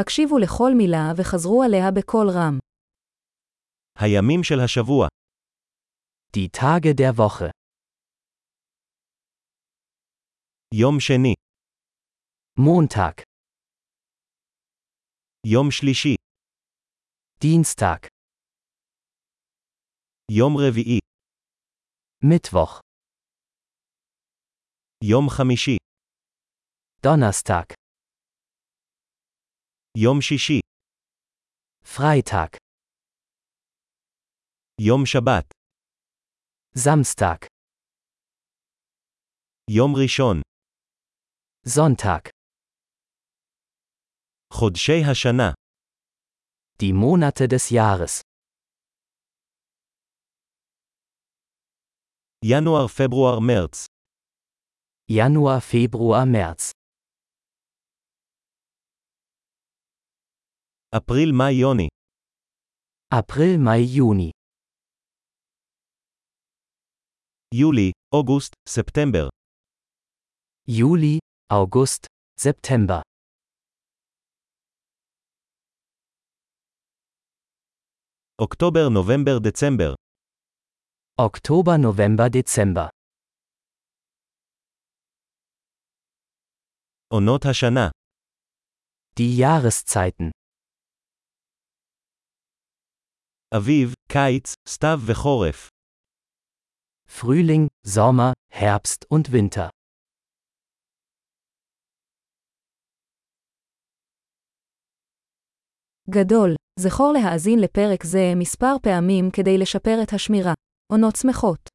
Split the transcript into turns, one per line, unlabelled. הקשיבו לכל מילה וחזרו עליה בקול רם.
הימים של השבוע,
Die Tage der Woche.
יום שני,
Montag,
יום שלישי,
Dienstag,
יום רביעי,
Mittwoch,
יום חמישי,
Donnerstag,
יום שישי,
Freitag,
יום שבת,
Samstag,
יום ראשון,
Sonntag.
חודשי השנה,
Die Monate des Jahres.
ינואר, פברואר, מרץ,
Januar, Februar, März.
אפריל, מאי, יוני,
April, Mai, Juni.
יולי, אוגוסט, ספטמבר,
Juli, August, September.
אוקטובר, נובמבר, דצמבר,
Oktober, November, Dezember.
עונות השנה,
Die Jahreszeiten.
אביב, קיץ, סתיו וחורף,
Frühling, Sommer, Herbst und Winter.
גדול, זכור להאזין לפרק זה מספר פעמים כדי לשפר את השמירה. עונות שמחות.